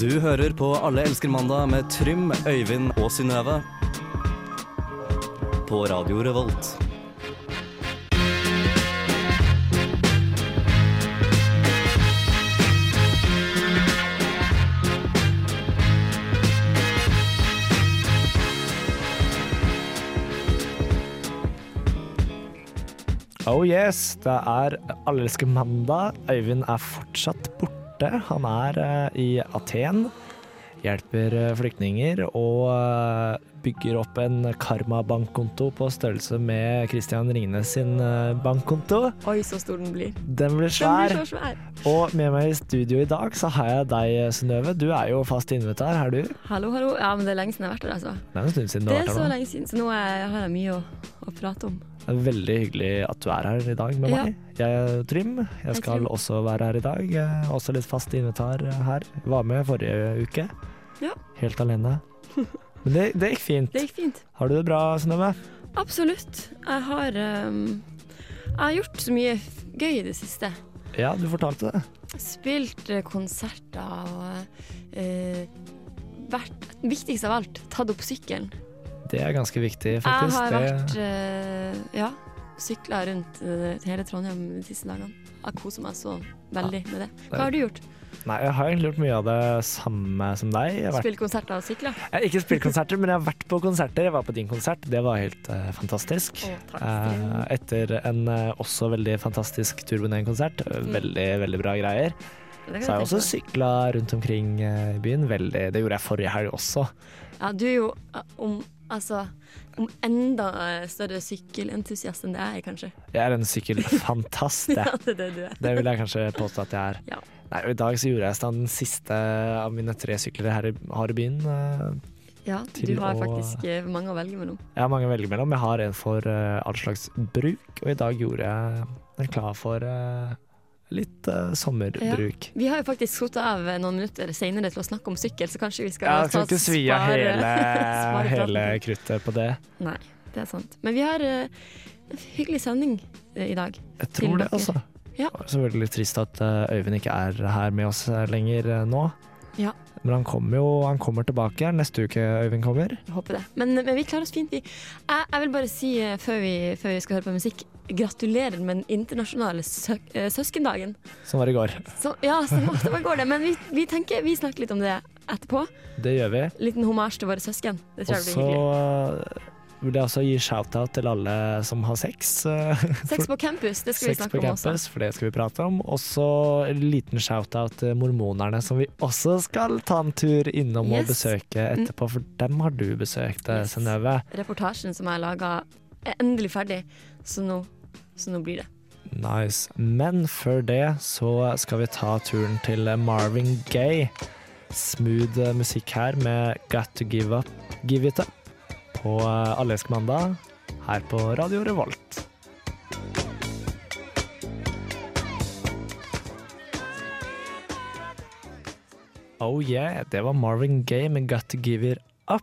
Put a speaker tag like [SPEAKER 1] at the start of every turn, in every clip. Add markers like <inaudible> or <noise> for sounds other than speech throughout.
[SPEAKER 1] Du hører på Alle elsker mandag med Trym, Øyvind og Synnøve. På Radio Revolt.
[SPEAKER 2] Oh yes, det er allelske mandag. Øyvind er fortsatt borte. Han er eh, i Aten. Hjelper eh, flyktninger og eh, bygger opp en karma-bankkonto på størrelse med Christian Ringnes sin eh, bankkonto.
[SPEAKER 3] Oi, så stor den blir.
[SPEAKER 2] Den
[SPEAKER 3] Den
[SPEAKER 2] blir
[SPEAKER 3] blir
[SPEAKER 2] svær.
[SPEAKER 3] så svær.
[SPEAKER 2] Og med meg i studio i dag så har jeg deg, eh, Synnøve. Du er jo fast invitar, er du?
[SPEAKER 3] Hallo, hallo. Ja, men det er lenge siden jeg har vært her, altså.
[SPEAKER 2] Det er en stund siden du
[SPEAKER 3] Det er
[SPEAKER 2] har vært
[SPEAKER 3] så
[SPEAKER 2] her nå.
[SPEAKER 3] lenge siden, så nå er, har jeg mye å, å prate om.
[SPEAKER 2] Det er veldig hyggelig at du er her i dag med
[SPEAKER 3] Ja.
[SPEAKER 2] meg. Jeg er Trym. Jeg skal
[SPEAKER 3] Trym.
[SPEAKER 2] også være her i dag. Jeg er Også litt fast invitar eh, her. Var med forrige uke.
[SPEAKER 3] Ja.
[SPEAKER 2] Helt alene. Men det, det gikk fint.
[SPEAKER 3] Det gikk fint.
[SPEAKER 2] Har du det bra, Synnøve?
[SPEAKER 3] Absolutt. Jeg har ehm, Jeg har gjort så mye f- gøy i det siste.
[SPEAKER 2] Ja, du fortalte det.
[SPEAKER 3] Spilt eh, konserter og eh, vært Viktigst av alt, tatt opp sykkelen.
[SPEAKER 2] Det er ganske viktig,
[SPEAKER 3] Jeg
[SPEAKER 2] faktisk.
[SPEAKER 3] har
[SPEAKER 2] Det-
[SPEAKER 3] vært eh, Ja, sykla rundt eh, hele Trondheim de siste dagene. Jeg koser meg så veldig med det. Hva har du gjort?
[SPEAKER 2] Nei, jeg har egentlig gjort mye av det samme som deg. Jeg har vært
[SPEAKER 3] Spilt konserter og sykla?
[SPEAKER 2] Jeg har ikke spilt konserter, men jeg har vært på konserter. Jeg var på din konsert, det var helt eh, fantastisk.
[SPEAKER 3] Å, takk.
[SPEAKER 2] Eh, etter en eh, også veldig fantastisk Turbonen-konsert. Veldig, veldig bra greier.
[SPEAKER 3] Det Mm. kan
[SPEAKER 2] Så har
[SPEAKER 3] tenke
[SPEAKER 2] jeg også
[SPEAKER 3] meg.
[SPEAKER 2] sykla rundt omkring eh, i byen. Veldig, det gjorde jeg forrige helg også.
[SPEAKER 3] Ja, du er jo eh, om, altså, om enda eh, større sykkelentusiast enn det jeg er,
[SPEAKER 2] <laughs>
[SPEAKER 3] kanskje.
[SPEAKER 2] Jeg er en sykkelfantast,
[SPEAKER 3] <laughs> Ja,
[SPEAKER 2] jeg.
[SPEAKER 3] det er det du er.
[SPEAKER 2] Det vil jeg kanskje påstå at jeg er.
[SPEAKER 3] Ja.
[SPEAKER 2] Nei, og I dag så gjorde jeg i stand den siste av mine tre sykler jeg har i, har i byen. Eh,
[SPEAKER 3] Ja, du
[SPEAKER 2] Til
[SPEAKER 3] har
[SPEAKER 2] å-
[SPEAKER 3] faktisk eh, mange å velge mellom.
[SPEAKER 2] Jeg har mange å velge mellom. Jeg har en for eh, all slags bruk, og i dag gjorde jeg den klar for eh, litt eh, sommerbruk.
[SPEAKER 3] Vi har jo faktisk skrudd av eh, noen minutter senere til å snakke om sykkel, så kanskje vi skal
[SPEAKER 2] Jeg
[SPEAKER 3] ta
[SPEAKER 2] skal ikke svi av
[SPEAKER 3] spare-
[SPEAKER 2] hele,
[SPEAKER 3] <laughs> spare praten.
[SPEAKER 2] hele kruttet på det.
[SPEAKER 3] Nei, det er sant. Men vi har eh, en hyggelig sending eh, i dag.
[SPEAKER 2] Jeg
[SPEAKER 3] Til
[SPEAKER 2] tror det,
[SPEAKER 3] dere.
[SPEAKER 2] altså.
[SPEAKER 3] Ja.
[SPEAKER 2] Det er Selvfølgelig litt trist at eh, Øyvind ikke er her med oss eh, lenger eh, nå.
[SPEAKER 3] Ja.
[SPEAKER 2] Men han kommer jo han kommer tilbake her neste uke. Øyvind kommer.
[SPEAKER 3] Jeg håper det. Men, men vi klarer oss fint, vi. Jeg, jeg vil bare si, eh, før vi, før vi skal høre på musikk, gratulerer med den internasjonale søk, eh, søskendagen.
[SPEAKER 2] Som var i går.
[SPEAKER 3] Så, ja, så må- så bare går det. Men vi, vi tenker, vi snakker litt om det etterpå.
[SPEAKER 2] Det gjør vi.
[SPEAKER 3] Liten hommage til våre søsken. Det
[SPEAKER 2] Og
[SPEAKER 3] tror jeg blir
[SPEAKER 2] så
[SPEAKER 3] hyggelig.
[SPEAKER 2] eh, vil jeg også gi shout-out til alle som har sex. eh,
[SPEAKER 3] Sex på campus, det skal vi
[SPEAKER 2] Sex
[SPEAKER 3] snakke
[SPEAKER 2] på
[SPEAKER 3] om også.
[SPEAKER 2] campus, for det skal vi prate om. Og så en liten shout-out til mormonerne, som vi også skal ta en tur innom og
[SPEAKER 3] Yes.
[SPEAKER 2] besøke etterpå, for dem har du besøkt, eh,
[SPEAKER 3] Yes.
[SPEAKER 2] Synnøve.
[SPEAKER 3] Reportasjen som jeg laga, er endelig ferdig, så nå, så nå blir det.
[SPEAKER 2] Nice. Men før det så skal vi ta turen til Marvin Gaye. Smooth eh, musikk her med Got To Give Up Give It Up på eh, Alleelsk mandag her på Radio Revolt. Oh yeah, det var Marvin Gaye med Got To Give It Up.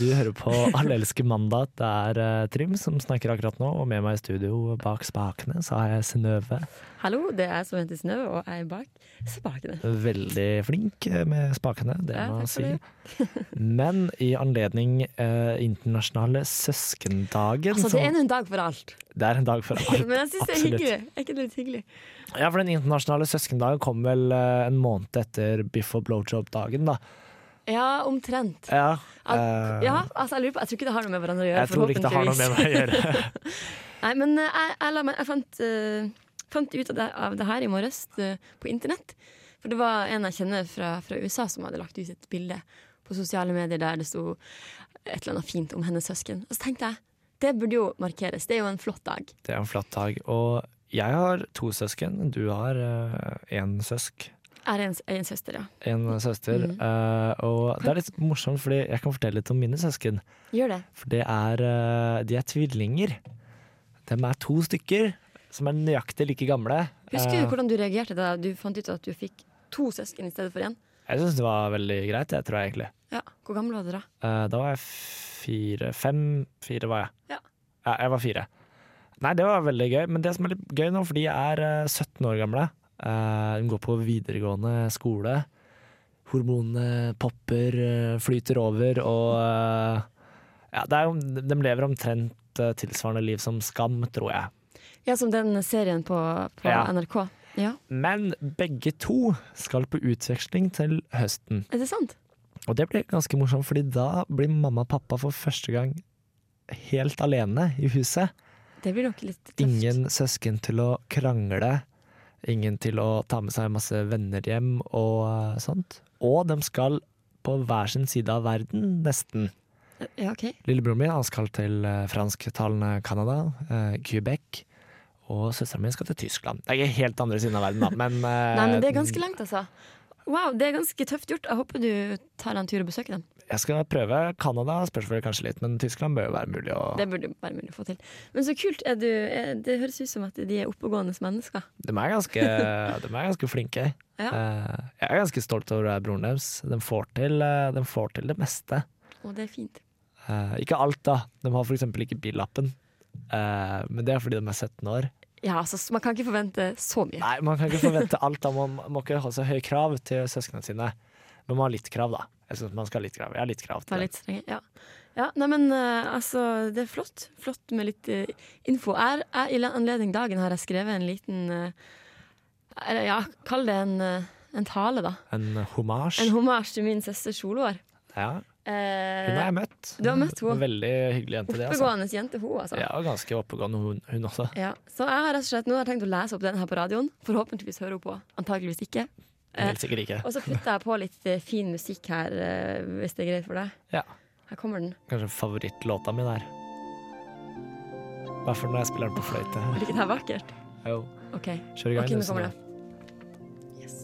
[SPEAKER 2] Du hører på Allelske mandag. Det er eh, Trym som snakker akkurat nå, og med meg i studio bak spakene så har jeg Synnøve.
[SPEAKER 3] Hallo, det er jeg som heter Snø, og jeg er bak spakene.
[SPEAKER 2] Veldig flink eh, med spakene, det
[SPEAKER 3] Ja,
[SPEAKER 2] må
[SPEAKER 3] takk
[SPEAKER 2] jeg
[SPEAKER 3] for
[SPEAKER 2] si. Men i anledning eh, internasjonale søskendagen
[SPEAKER 3] Altså, det
[SPEAKER 2] som-
[SPEAKER 3] er nå en dag for alt,
[SPEAKER 2] det er en dag for alt.
[SPEAKER 3] men jeg syns det er
[SPEAKER 2] absolutt.
[SPEAKER 3] hyggelig. Er ikke det litt hyggelig?
[SPEAKER 2] Ja, for den internasjonale søskendagen kom vel eh, en måned etter biff og blowjob-dagen, da.
[SPEAKER 3] Ja, omtrent.
[SPEAKER 2] Ja,
[SPEAKER 3] Al-
[SPEAKER 2] eh,
[SPEAKER 3] Ja, altså, jeg lurer på, jeg tror ikke det har noe med hverandre å gjøre,
[SPEAKER 2] jeg tror ikke det har noe med meg å gjøre.
[SPEAKER 3] Nei, men eh, jeg, jeg, la meg, jeg fant, eh, fant ut av det, av det her i morges eh, på internett. For det var en jeg kjenner fra, fra USA som hadde lagt ut et bilde på sosiale medier der det sto et eller annet fint om hennes søsken. Og så tenkte jeg det burde jo markeres. Det er jo en flott dag.
[SPEAKER 2] <laughs> Det er en flott dag. Og jeg har to søsken. Du har én søsk.
[SPEAKER 3] Jeg er en, jeg er en søster, ja.
[SPEAKER 2] En
[SPEAKER 3] Mm.
[SPEAKER 2] søster. eh, og det er litt morsomt, fordi jeg kan fortelle litt om mine søsken.
[SPEAKER 3] Gjør det.
[SPEAKER 2] For det er, eh, de er tvillinger. De er to stykker som er nøyaktig like gamle.
[SPEAKER 3] Husker
[SPEAKER 2] Eh,
[SPEAKER 3] du hvordan du reagerte da du fant ut at du fikk to søsken i stedet for én?
[SPEAKER 2] Eh, Jeg syns det var veldig greit, jeg tror jeg egentlig.
[SPEAKER 3] Ja, Hvor gammel var du da?
[SPEAKER 2] Eh, da var jeg fire, fem, fire var jeg.
[SPEAKER 3] Ja.
[SPEAKER 2] ja. Jeg var fire. Nei, det var veldig gøy, men det som er litt gøy nå, for de er eh, 17 år gamle. Eh, De går på videregående skole. hormonene popper, eh, flyter over, og eh, ja, det er, jo- de lever omtrent eh, tilsvarende liv som Skam, tror jeg.
[SPEAKER 3] Ja, som den serien på, på
[SPEAKER 2] Ja.
[SPEAKER 3] NRK. Ja,
[SPEAKER 2] Men begge to skal på utveksling til høsten.
[SPEAKER 3] er det sant?
[SPEAKER 2] Og det blir ganske morsomt, fordi da blir mamma og pappa for første gang helt alene i huset.
[SPEAKER 3] Det blir nok litt tøft.
[SPEAKER 2] Ingen søsken til å krangle, ingen til å ta med seg masse venner hjem og eh, sånt. Og de skal på hver sin side av verden, nesten.
[SPEAKER 3] Ja, ok.
[SPEAKER 2] Lillebroren min han skal til eh, fransktalende Canada, eh, Quebec. Og søsteren min skal til Tyskland. Det er ikke helt andre siden av verden, da, men eh,
[SPEAKER 3] <laughs> Nei, men det er ganske langt, altså. Wow, det er ganske tøft gjort. Jeg håper du tar en tur og besøker dem.
[SPEAKER 2] Jeg skal prøve Canada, spørs vel kanskje litt, men Tyskland bør jo være mulig å
[SPEAKER 3] Det burde være mulig å få til. Men så kult. Er du, er, det høres ut som at de er oppegående mennesker.
[SPEAKER 2] De er ganske, de er ganske flinke.
[SPEAKER 3] Ja.
[SPEAKER 2] Eh, Jeg er ganske stolt over å være broren deres. De får til, eh, de får til det meste.
[SPEAKER 3] Og det er fint.
[SPEAKER 2] Eh, Ikke alt, da. De har f.eks. ikke billappen. Eh, Men det er fordi de er 17 år.
[SPEAKER 3] Ja, altså, Man kan ikke forvente så mye.
[SPEAKER 2] Nei, Man kan ikke forvente alt. Da. Man man må ikke ha så høye krav til søsknene sine. Men man har litt krav, da. Jeg synes man skal ha litt krav. Jeg har litt krav
[SPEAKER 3] Vær
[SPEAKER 2] til det.
[SPEAKER 3] litt strenge. Ja. Ja, nei, men eh, altså, det er flott. Flott med litt eh, info. Jeg, jeg, I anledning dagen har jeg skrevet en liten eh, Eller ja, kall det en, eh, en tale, da.
[SPEAKER 2] En
[SPEAKER 3] En
[SPEAKER 2] hommage.
[SPEAKER 3] hommage til min søsters soloår.
[SPEAKER 2] Ja, hun har
[SPEAKER 3] Eh,
[SPEAKER 2] jeg møtt.
[SPEAKER 3] du har møtt henne.
[SPEAKER 2] En Veldig hyggelig jente, det. altså.
[SPEAKER 3] oppegående jente, hun, altså.
[SPEAKER 2] Ja, og ganske oppegående hun, hun også.
[SPEAKER 3] Ja, så jeg har rett og slett nå har jeg tenkt å lese opp den her på radioen. Forhåpentligvis hører hun på. Antakeligvis ikke. Eh,
[SPEAKER 2] Helt sikkert ikke.
[SPEAKER 3] Og så putter jeg på litt eh, fin musikk her, eh, hvis det er greit for deg.
[SPEAKER 2] Ja.
[SPEAKER 3] Her kommer den.
[SPEAKER 2] Kanskje favorittlåta mi der. Hva for når jeg spiller den på fløyte?
[SPEAKER 3] Er ikke det her vakkert?
[SPEAKER 2] Jo,
[SPEAKER 3] OK.
[SPEAKER 2] kjør i
[SPEAKER 3] Ok,
[SPEAKER 2] gang.
[SPEAKER 3] nå
[SPEAKER 2] du,
[SPEAKER 3] kommer
[SPEAKER 2] Sunniva.
[SPEAKER 3] det. Yes.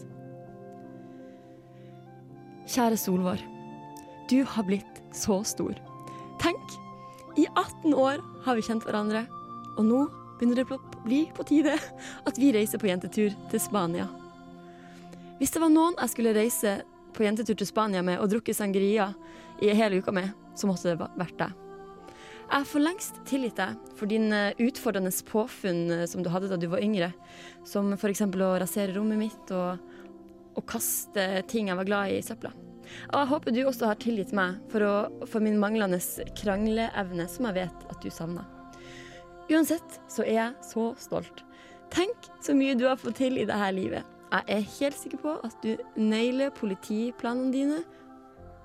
[SPEAKER 3] Kjære Solvår. Du har blitt så stor. Tenk, i 18 år har vi kjent hverandre, og nå begynner det å bli på tide at vi reiser på jentetur til Spania. Hvis det var noen jeg skulle reise på jentetur til Spania med og drukke sangria i hele uka med, så måtte det va- vært deg. Jeg har for lengst tilgitt deg for dine utfordrende påfunn eh, som du hadde da du var yngre, som f.eks. å rasere rommet mitt og, og kaste ting jeg var glad i, i søpla. Og jeg håper du også har tilgitt meg for, å, for min manglende krangleevne, som jeg vet at du savner. Uansett så er jeg så stolt. Tenk så mye du har fått til i dette livet. Jeg er helt sikker på at du nailer politiplanene dine,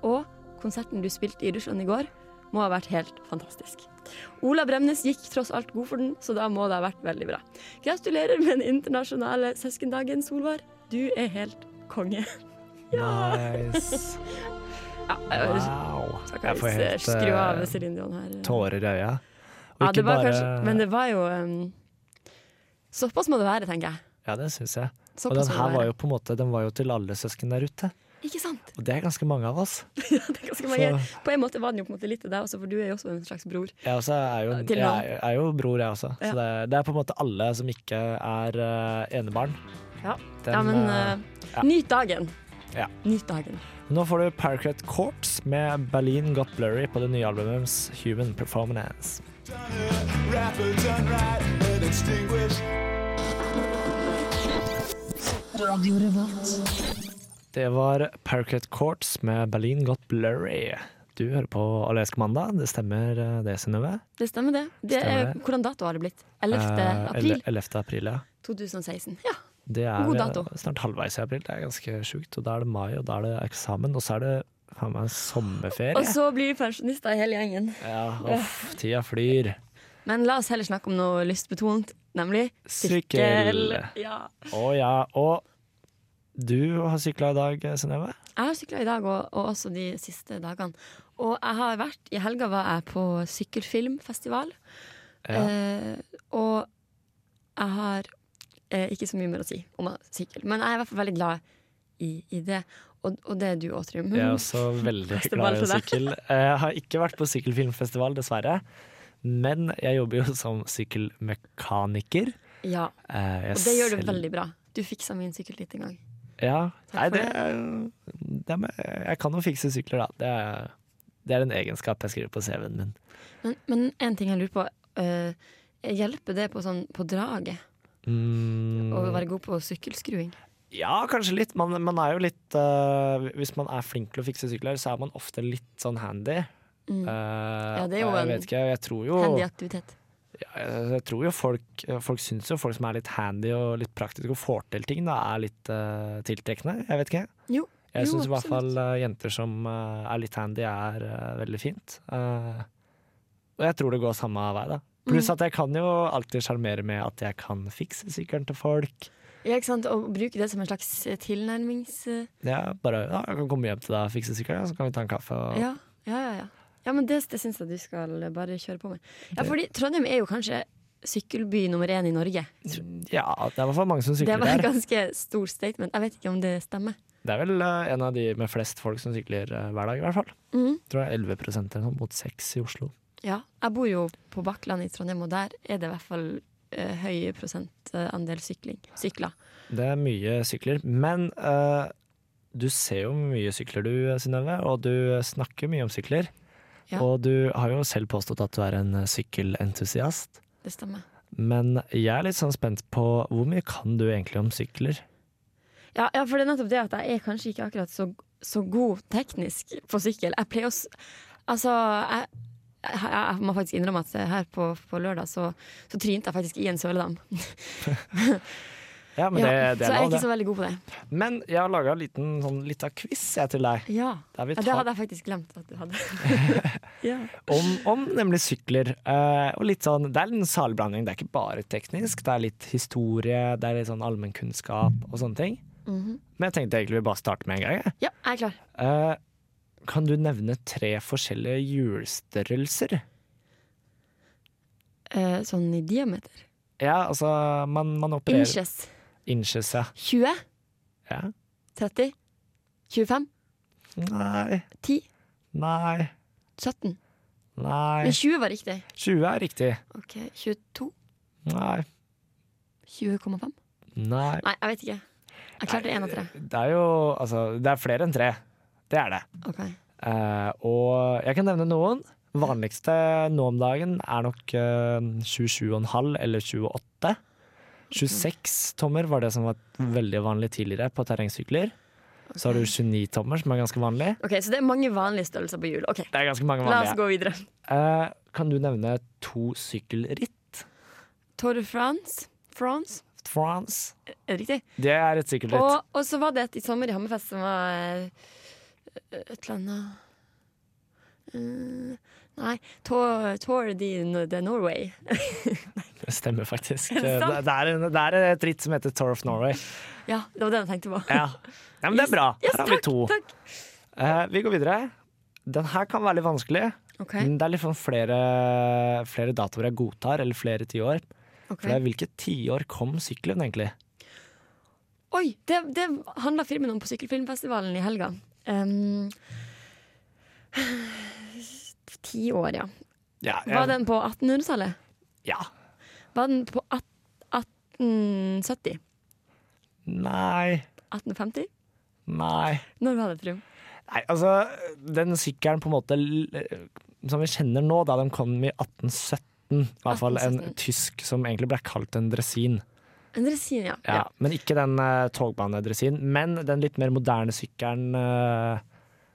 [SPEAKER 3] og konserten du spilte i Russland i går, må ha vært helt fantastisk. Ola Bremnes gikk tross alt god for den, så da må det ha vært veldig bra. Gratulerer med den internasjonale søskendagen, Solvar. Du er helt konge.
[SPEAKER 2] Nice.
[SPEAKER 3] Ja, jeg-
[SPEAKER 2] Wow.
[SPEAKER 3] jeg
[SPEAKER 2] Jeg
[SPEAKER 3] kan
[SPEAKER 2] får
[SPEAKER 3] ikke
[SPEAKER 2] helt
[SPEAKER 3] skru av
[SPEAKER 2] eh,
[SPEAKER 3] Céline Dion her.
[SPEAKER 2] tårer i øya. Og
[SPEAKER 3] Ja,
[SPEAKER 2] ikke
[SPEAKER 3] det var
[SPEAKER 2] bare-
[SPEAKER 3] kanskje, men det var jo um, Såpass må det være, tenker jeg.
[SPEAKER 2] Ja, det syns jeg. Og
[SPEAKER 3] Såpass
[SPEAKER 2] den
[SPEAKER 3] må det
[SPEAKER 2] her var
[SPEAKER 3] være.
[SPEAKER 2] jo på en måte Den var jo til alle søsken der ute.
[SPEAKER 3] Ikke sant?
[SPEAKER 2] Og det er ganske mange av oss.
[SPEAKER 3] Ja, det er <laughs> ganske mange. På en måte var den jo på en måte litt til deg også, for du er jo også en slags bror.
[SPEAKER 2] Jeg også er jo,
[SPEAKER 3] Til
[SPEAKER 2] jeg
[SPEAKER 3] noen.
[SPEAKER 2] er, er jo bror, jeg også.
[SPEAKER 3] Ja.
[SPEAKER 2] Så det er, det er på en måte alle som ikke er eh, enebarn.
[SPEAKER 3] Ja,
[SPEAKER 2] Den,
[SPEAKER 3] ja men
[SPEAKER 2] eh,
[SPEAKER 3] eh,
[SPEAKER 2] ja.
[SPEAKER 3] nyt dagen.
[SPEAKER 2] Ja.
[SPEAKER 3] Nyt dagen.
[SPEAKER 2] Nå får du Paracret Courts med Berlin Got Blurry på det nye albumet Human Performance.
[SPEAKER 4] Rapper done right and extinguished.
[SPEAKER 2] Det var Paracret Courts med Berlin Got Blurry. Du hører på Alesk Mandag, det stemmer eh, det, Synnøve?
[SPEAKER 3] Det stemmer, det. det
[SPEAKER 2] Stemmer
[SPEAKER 3] er,
[SPEAKER 2] det.
[SPEAKER 3] hvordan dato har det blitt? 11.
[SPEAKER 2] Eh,
[SPEAKER 3] april
[SPEAKER 2] ele- 11. april, ja.
[SPEAKER 3] 2016. Ja.
[SPEAKER 2] Det er
[SPEAKER 3] God
[SPEAKER 2] eh,
[SPEAKER 3] dato.
[SPEAKER 2] snart halvveis i april, det er ganske sjukt. Og da er det mai, og da er det eksamen, og så er det faen meg sommerferie.
[SPEAKER 3] Og så blir vi pensjonister i hele gjengen.
[SPEAKER 2] Ja, uff, tida flyr.
[SPEAKER 3] Men la oss heller snakke om noe lystbetont, nemlig
[SPEAKER 2] Sykkel.
[SPEAKER 3] sykkel. Ja.
[SPEAKER 2] Å ja, og du har sykla i dag, Synnøve?
[SPEAKER 3] Jeg har sykla i dag og, og også de siste dagene. Og jeg har vært, i helga var jeg på sykkelfilmfestival.
[SPEAKER 2] Ja.
[SPEAKER 3] Eh, og jeg har eh, ikke så mye mer å si om sykkel, men jeg er i hvert fall veldig glad i, i det. Og, og det er du òg, Trym.
[SPEAKER 2] Jeg er også veldig
[SPEAKER 3] Kaste ball Mm.
[SPEAKER 2] glad i å
[SPEAKER 3] til deg.
[SPEAKER 2] sykle. Jeg har ikke vært på sykkelfilmfestival, dessverre. Men jeg jobber jo som sykkelmekaniker.
[SPEAKER 3] Ja,
[SPEAKER 2] Eh, jeg
[SPEAKER 3] og det gjør du
[SPEAKER 2] selv-
[SPEAKER 3] veldig bra. Du fiksa min sykkel litt en gang.
[SPEAKER 2] Ja. Nei,
[SPEAKER 3] for
[SPEAKER 2] det, det er med, Jeg kan jo fikse sykler, da. Det er, det er en egenskap jeg skriver på CV-en min.
[SPEAKER 3] Men, men en ting jeg lurer på. eh, hjelper det på, sånn, på draget
[SPEAKER 2] Mm,
[SPEAKER 3] å være god på sykkelskruing?
[SPEAKER 2] Ja, kanskje litt. Man, man er jo litt eh, Hvis man er flink til å fikse sykler, så er man ofte litt sånn handy.
[SPEAKER 3] Mm.
[SPEAKER 2] Eh,
[SPEAKER 3] Ja, det er jo
[SPEAKER 2] og jeg
[SPEAKER 3] en
[SPEAKER 2] vet ikke, jeg tror jo,
[SPEAKER 3] Handy aktivitet.
[SPEAKER 2] ja, jeg tror jo folk, folk syns jo folk som er litt handy og litt praktiske og får til ting, da er litt eh, tiltrekkende. Jeg vet ikke.
[SPEAKER 3] Jo.
[SPEAKER 2] Jeg
[SPEAKER 3] jo,
[SPEAKER 2] syns i hvert fall
[SPEAKER 3] absolutt.
[SPEAKER 2] eh, jenter som eh, er litt handy, er eh, veldig fint. Eh, og jeg tror det går samme vei, da. Pluss
[SPEAKER 3] Mm.
[SPEAKER 2] at jeg kan jo alltid sjarmere med at jeg kan fikse sykkelen til folk.
[SPEAKER 3] Ja, ikke sant? Å bruke det som en slags eh, tilnærmings... eh,
[SPEAKER 2] Ja, bare ja, 'Jeg kan komme hjem til deg og fikse sykkelen, så kan vi ta en kaffe.' Og,
[SPEAKER 3] Ja, ja, ja, ja. ja men det, det syns jeg du skal bare kjøre på med. Ja, fordi Trondheim er jo kanskje sykkelby nummer én i Norge.
[SPEAKER 2] ja, det er i hvert fall mange som
[SPEAKER 3] Det
[SPEAKER 2] sykler
[SPEAKER 3] var
[SPEAKER 2] der.
[SPEAKER 3] et <laughs> ganske stor statement. Jeg vet ikke om det stemmer.
[SPEAKER 2] Det er vel eh, en av de med flest folk som sykler eh, hver dag, i hvert fall.
[SPEAKER 3] Mhm.
[SPEAKER 2] Tror jeg 11 eller noe, mot 6 i Oslo.
[SPEAKER 3] Ja, jeg bor jo på Bakkland i Trondheim, og der er det i hvert fall eh, høy prosentandel sykling. Sykler.
[SPEAKER 2] Det er mye sykler. Men eh, du ser jo mye sykler du, eh, Synnøve, og du eh, snakker mye om sykler.
[SPEAKER 3] Ja.
[SPEAKER 2] Og du har jo selv påstått at du er en eh, sykkelentusiast.
[SPEAKER 3] Det stemmer.
[SPEAKER 2] Men jeg er litt sånn spent på hvor mye kan du egentlig om sykler?
[SPEAKER 3] Ja, ja, for det er nettopp det at jeg er kanskje ikke akkurat så, så god teknisk på sykkel. Jeg pleier å s- Altså, jeg, jeg, jeg må faktisk innrømme at her på, på lørdag så, så trynte jeg faktisk i en søledam.
[SPEAKER 2] Ja, men
[SPEAKER 3] Ja,
[SPEAKER 2] det, det
[SPEAKER 3] så jeg er
[SPEAKER 2] er lov,
[SPEAKER 3] ikke
[SPEAKER 2] det.
[SPEAKER 3] så veldig god på det.
[SPEAKER 2] Men jeg har laga en liten, sånn, liten quiz jeg, til deg.
[SPEAKER 3] Ja.
[SPEAKER 2] Der vi
[SPEAKER 3] ja, det
[SPEAKER 2] tar-
[SPEAKER 3] hadde jeg faktisk glemt at du hadde.
[SPEAKER 2] <laughs>
[SPEAKER 3] ja.
[SPEAKER 2] om, om nemlig sykler. Eh, og litt sånn, det er en salblanding. Det er ikke bare teknisk. Det er litt historie, det er litt sånn allmennkunnskap og sånne ting. Men jeg tenkte egentlig vi bare starter med en gang. jeg.
[SPEAKER 3] Mhm. ja, jeg er klar.
[SPEAKER 2] Eh, kan du nevne tre forskjellige hjulstørrelser?
[SPEAKER 3] Eh, sånn i diameter.
[SPEAKER 2] Ja, altså man, man opererer
[SPEAKER 3] Inches.
[SPEAKER 2] Inches, ja.
[SPEAKER 3] 20,
[SPEAKER 2] ja.
[SPEAKER 3] 30, 25,
[SPEAKER 2] Nei,
[SPEAKER 3] 10,
[SPEAKER 2] nei,
[SPEAKER 3] 17.
[SPEAKER 2] nei.
[SPEAKER 3] Men 20 var riktig.
[SPEAKER 2] 20 er riktig.
[SPEAKER 3] Ok, 22,
[SPEAKER 2] Nei,
[SPEAKER 3] 20,5.
[SPEAKER 2] nei.
[SPEAKER 3] Nei, jeg vet ikke. Jeg klarte én av tre.
[SPEAKER 2] Det er jo altså Det er flere enn tre. Det er det.
[SPEAKER 3] Ok.
[SPEAKER 2] Eh, og jeg kan nevne noen. Vanligste nå om dagen er nok eh, 27,5 eller 28. 26 tommer var det som var veldig vanlig tidligere på terrengsykler. Så har du 29 tommer, som er ganske vanlig.
[SPEAKER 3] Ok, Så det er mange vanlige størrelser på hjul. Ok,
[SPEAKER 2] Det er ganske mange
[SPEAKER 3] La oss
[SPEAKER 2] vanlige.
[SPEAKER 3] gå videre.
[SPEAKER 2] Eh, kan du nevne to sykkelritt?
[SPEAKER 3] Tour de France. France,
[SPEAKER 2] France.
[SPEAKER 3] er det riktig?
[SPEAKER 2] Det er et sykkelritt.
[SPEAKER 3] Og, og så var det et i sommer i Hammerfest som var eh, et eller annet Eh, Nei, Tour, Tour de, de Norway.
[SPEAKER 2] Det stemmer faktisk.
[SPEAKER 3] Er
[SPEAKER 2] Det,
[SPEAKER 3] det sant?
[SPEAKER 2] det, er en, det er et ritt som heter Tour of Norway.
[SPEAKER 3] Ja, det var det jeg tenkte på.
[SPEAKER 2] Ja, ja men det er bra.
[SPEAKER 3] Yes,
[SPEAKER 2] Her har vi
[SPEAKER 3] takk,
[SPEAKER 2] to.
[SPEAKER 3] Takk.
[SPEAKER 2] Eh, vi går videre. Den her kan være litt vanskelig.
[SPEAKER 3] Ok,
[SPEAKER 2] Men det er liksom flere, flere datoer jeg godtar, eller flere tiår.
[SPEAKER 3] ok.
[SPEAKER 2] For det er hvilket tiår kom sykkelen, egentlig?
[SPEAKER 3] Oi, det, det handla filmen om på Sykkelfilmfestivalen i helga. Ehm, <sighs> ti år, ja.
[SPEAKER 2] Ja, eh,
[SPEAKER 3] Var den på 1800-tallet?
[SPEAKER 2] ja.
[SPEAKER 3] Var den på at, 1870?
[SPEAKER 2] Nei,
[SPEAKER 3] 1850?
[SPEAKER 2] nei.
[SPEAKER 3] Når var det, Trym?
[SPEAKER 2] Nei, altså, den sykkelen på en måte l- som vi kjenner nå, da den kom i 1817, i hvert fall en
[SPEAKER 3] 1817.
[SPEAKER 2] tysk som egentlig ble kalt en dresin.
[SPEAKER 3] En dresin, ja.
[SPEAKER 2] Ja, Men ikke den uh, togbanedresin, men den litt mer moderne sykkelen eh,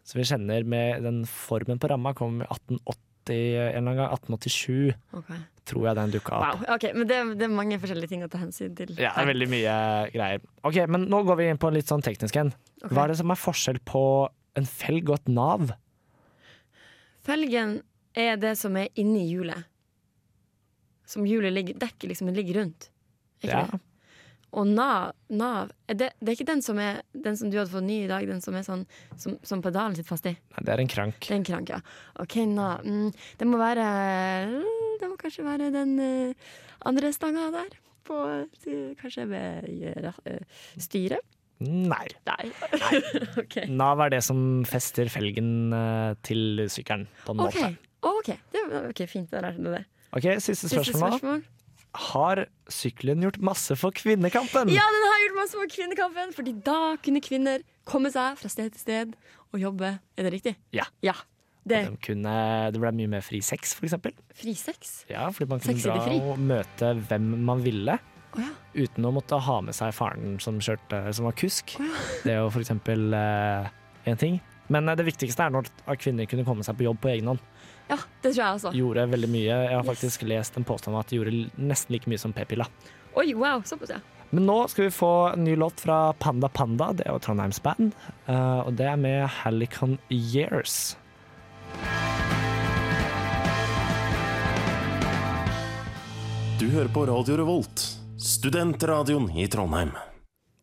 [SPEAKER 2] som vi kjenner med den formen på ramma, kom i 1880, en eller annen gang 1887,
[SPEAKER 3] Ok.
[SPEAKER 2] tror jeg den dukka opp.
[SPEAKER 3] Wow. ok, Men det, det er mange forskjellige ting å ta hensyn til.
[SPEAKER 2] Ja, det er veldig mye greier. Ok, men nå går vi inn på en litt sånn teknisk en.
[SPEAKER 3] Ok.
[SPEAKER 2] Hva er det som er forskjell på en felg og et nav?
[SPEAKER 3] Felgen er det som er inni hjulet. Som hjulet ligger, dekket liksom ligger rundt. Er ikke
[SPEAKER 2] Ja.
[SPEAKER 3] det? Og nav, nav er det, det er ikke den som, er, den som du hadde fått ny i dag, den som, er sånn, som, som pedalen sitter fast i?
[SPEAKER 2] Nei, det er en krank.
[SPEAKER 3] Det er en krank, ja. OK, nav. Mm, det må være mm, Det må kanskje være den eh, andre stanga der. På, eh, kanskje ved eh, styret?
[SPEAKER 2] Nei.
[SPEAKER 3] Nei. <laughs> OK.
[SPEAKER 2] Nav er det som fester felgen eh, til sykkelen, på en
[SPEAKER 3] Ok,
[SPEAKER 2] måte.
[SPEAKER 3] ok, det var ok, fint da lærte du det.
[SPEAKER 2] Ok, Siste
[SPEAKER 3] Siste
[SPEAKER 2] spørsmål.
[SPEAKER 3] spørsmål.
[SPEAKER 2] Har sykkelen gjort masse for kvinnekampen?
[SPEAKER 3] Ja, den har gjort masse for kvinnekampen, fordi da kunne kvinner komme seg fra sted til sted og jobbe. Er det riktig?
[SPEAKER 2] Ja.
[SPEAKER 3] Ja. Det er
[SPEAKER 2] De kunne, det ble mye mer fri sex, for eksempel.
[SPEAKER 3] fri sex.
[SPEAKER 2] Ja, fordi man kunne
[SPEAKER 3] Sex i det
[SPEAKER 2] dra
[SPEAKER 3] fri.
[SPEAKER 2] og møte hvem man ville.
[SPEAKER 3] Å ja.
[SPEAKER 2] uten å måtte ha med seg faren som, kjørte, som var kusk. Det er jo for eksempel eh, en ting. Men eh, det viktigste er når at kvinner kunne komme seg på jobb på egen hånd.
[SPEAKER 3] Ja, det tror jeg også.
[SPEAKER 2] Gjorde veldig mye. Jeg har
[SPEAKER 3] Yes.
[SPEAKER 2] faktisk lest en påstand om at de gjorde l- nesten like mye som p-pilla.
[SPEAKER 3] Oi, wow, såpass, ja.
[SPEAKER 2] Men nå skal vi få en ny låt fra Panda Panda. Det er jo Trondheims band. eh, og det er med Helicon Years.
[SPEAKER 5] Du hører på Radio Revolt, studentradioen i Trondheim.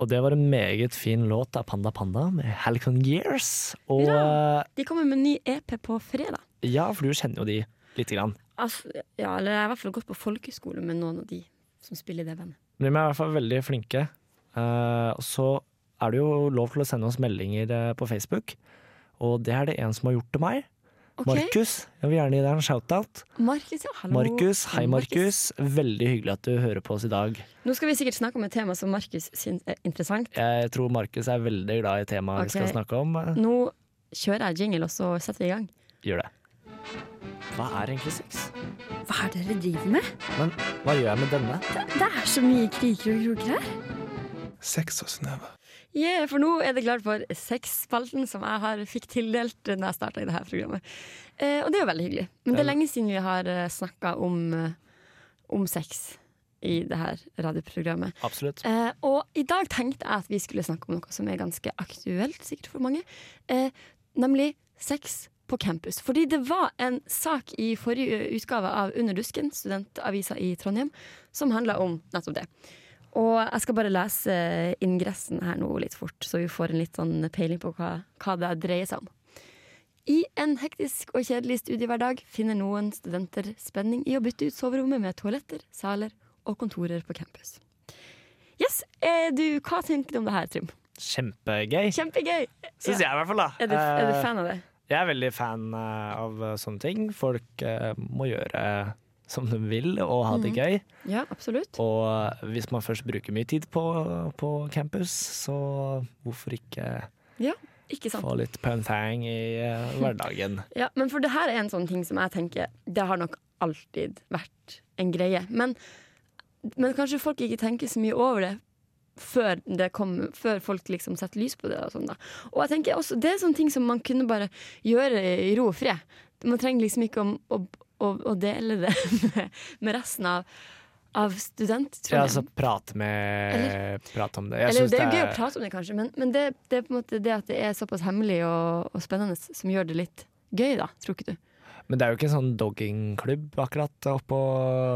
[SPEAKER 2] Og det var en meget fin låt av Panda Panda med Helicon Years. Og
[SPEAKER 3] Hurra! De kommer med en ny EP på fredag.
[SPEAKER 2] eh, ja, for du kjenner jo de lite grann.
[SPEAKER 3] Altså, ja, eller jeg har i hvert fall gått på folkehøyskole med noen av de som spiller i det bandet.
[SPEAKER 2] Men De er i hvert fall veldig flinke. Eh, og så er det jo lov til å sende oss meldinger eh, på Facebook, og det er det en som har gjort til meg.
[SPEAKER 3] Ok,
[SPEAKER 2] Markus. Jeg vil gjerne gi deg en shout-out.
[SPEAKER 3] Markus, ja, hallo.
[SPEAKER 2] Markus, hei Markus. Veldig hyggelig at du hører på oss i dag.
[SPEAKER 3] Nå skal vi sikkert snakke om et tema som Markus syns er interessant.
[SPEAKER 2] Jeg tror Markus er veldig glad i temaet vi skal
[SPEAKER 3] Ok.
[SPEAKER 2] snakke om. Eh,
[SPEAKER 3] Nå kjører jeg jingle, og så setter vi i gang.
[SPEAKER 2] Gjør det. Hva er egentlig sex?
[SPEAKER 6] Hva er det dere driver med?
[SPEAKER 2] Men hva gjør jeg med denne?
[SPEAKER 6] Det er så mye kriker og kroker her.
[SPEAKER 3] Yeah, for nå er det klart for sexspalten som jeg har fikk tildelt da jeg starta i det her programmet. Eh, og det er jo veldig hyggelig. Men det er lenge siden vi har snakka om, eh, om sex i det her radioprogrammet.
[SPEAKER 2] Absolutt.
[SPEAKER 3] Eh, og i dag tenkte jeg at vi skulle snakke om noe som er ganske aktuelt, sikkert for mange. Eh, nemlig sex på campus. Fordi det var en sak i forrige utgave av Under dusken, studentavisa i Trondheim, som handla om nettopp det. Og jeg skal bare lese ingressen her nå litt fort, så vi får en litt sånn peiling på hva, hva det dreier seg om. I en hektisk og kjedelig studiehverdag finner noen studenter spenning i å bytte ut soverommet med toaletter, saler og kontorer på campus. Yes, eh, du, Hva tenker du om det her, Trym?
[SPEAKER 2] Kjempegøy,
[SPEAKER 3] Kjempegøy!
[SPEAKER 2] syns jeg i hvert fall. da.
[SPEAKER 3] Er du, er du
[SPEAKER 2] Eh,
[SPEAKER 3] fan av det?
[SPEAKER 2] Jeg er veldig fan eh, av sånne ting. Folk eh, må gjøre som de vil og ha
[SPEAKER 3] Mhm.
[SPEAKER 2] det gøy.
[SPEAKER 3] Ja, absolutt.
[SPEAKER 2] Og eh, hvis man først bruker mye tid på, på campus, så hvorfor ikke
[SPEAKER 3] Ja, ikke sant?
[SPEAKER 2] få litt pun-thang i eh, hverdagen?
[SPEAKER 3] <laughs> Ja, men for det her er en sånn ting som jeg tenker Det har nok alltid vært en greie Men, men kanskje folk ikke tenker så mye over det før, det kom, før folk liksom setter lys på det og sånn da Og jeg tenker også, det er sånne ting som man kunne bare gjøre i ro og fred Man trenger liksom ikke å, å, å, å dele det <laughs> med, med resten av, av student
[SPEAKER 2] Ja,
[SPEAKER 3] Trondheim.
[SPEAKER 2] altså prate med Prate om det. Jeg
[SPEAKER 3] Eller,
[SPEAKER 2] synes
[SPEAKER 3] det er jo gøy å prate om det kanskje Men, men det, det er på en måte det at det er såpass hemmelig og, og spennende Som gjør det litt gøy da, tror ikke du?
[SPEAKER 2] Men det er jo ikke en sånn doggingklubb akkurat oppå